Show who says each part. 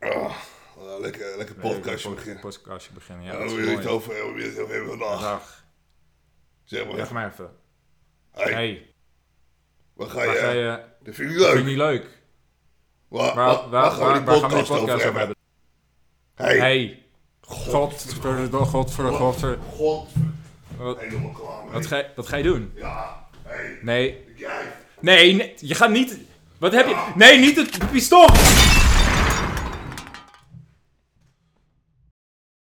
Speaker 1: Oh, lekker, lekker podcastje
Speaker 2: Leuk,
Speaker 1: beginnen.
Speaker 2: podcastje beginnen, ja.
Speaker 1: Ja,
Speaker 2: dat
Speaker 1: we
Speaker 2: is
Speaker 1: willen het
Speaker 2: mooi.
Speaker 1: over hebben, we willen het over hebben vandaag.
Speaker 2: Dag.
Speaker 1: Zeg maar,
Speaker 2: Zeg maar even.
Speaker 1: hey,
Speaker 2: Hey,
Speaker 1: waar ga
Speaker 2: waar
Speaker 1: je?
Speaker 2: ga je...
Speaker 1: Dat vind ik
Speaker 2: Vind je
Speaker 1: leuk.
Speaker 2: niet leuk?
Speaker 1: Waar,
Speaker 2: Waar, waar, waar,
Speaker 1: gaan we die podcast, over hebben? Hey,
Speaker 2: Hey. God, godver, godver, godver.
Speaker 1: god.
Speaker 2: Wat-
Speaker 1: Helemaal klaar mee.
Speaker 2: Wat ga, je- wat ga je doen?
Speaker 1: Ja, hey,
Speaker 2: Nee.
Speaker 1: jij.
Speaker 2: Nee, nee, je gaat niet... Wat heb je... Nee, niet het pistool!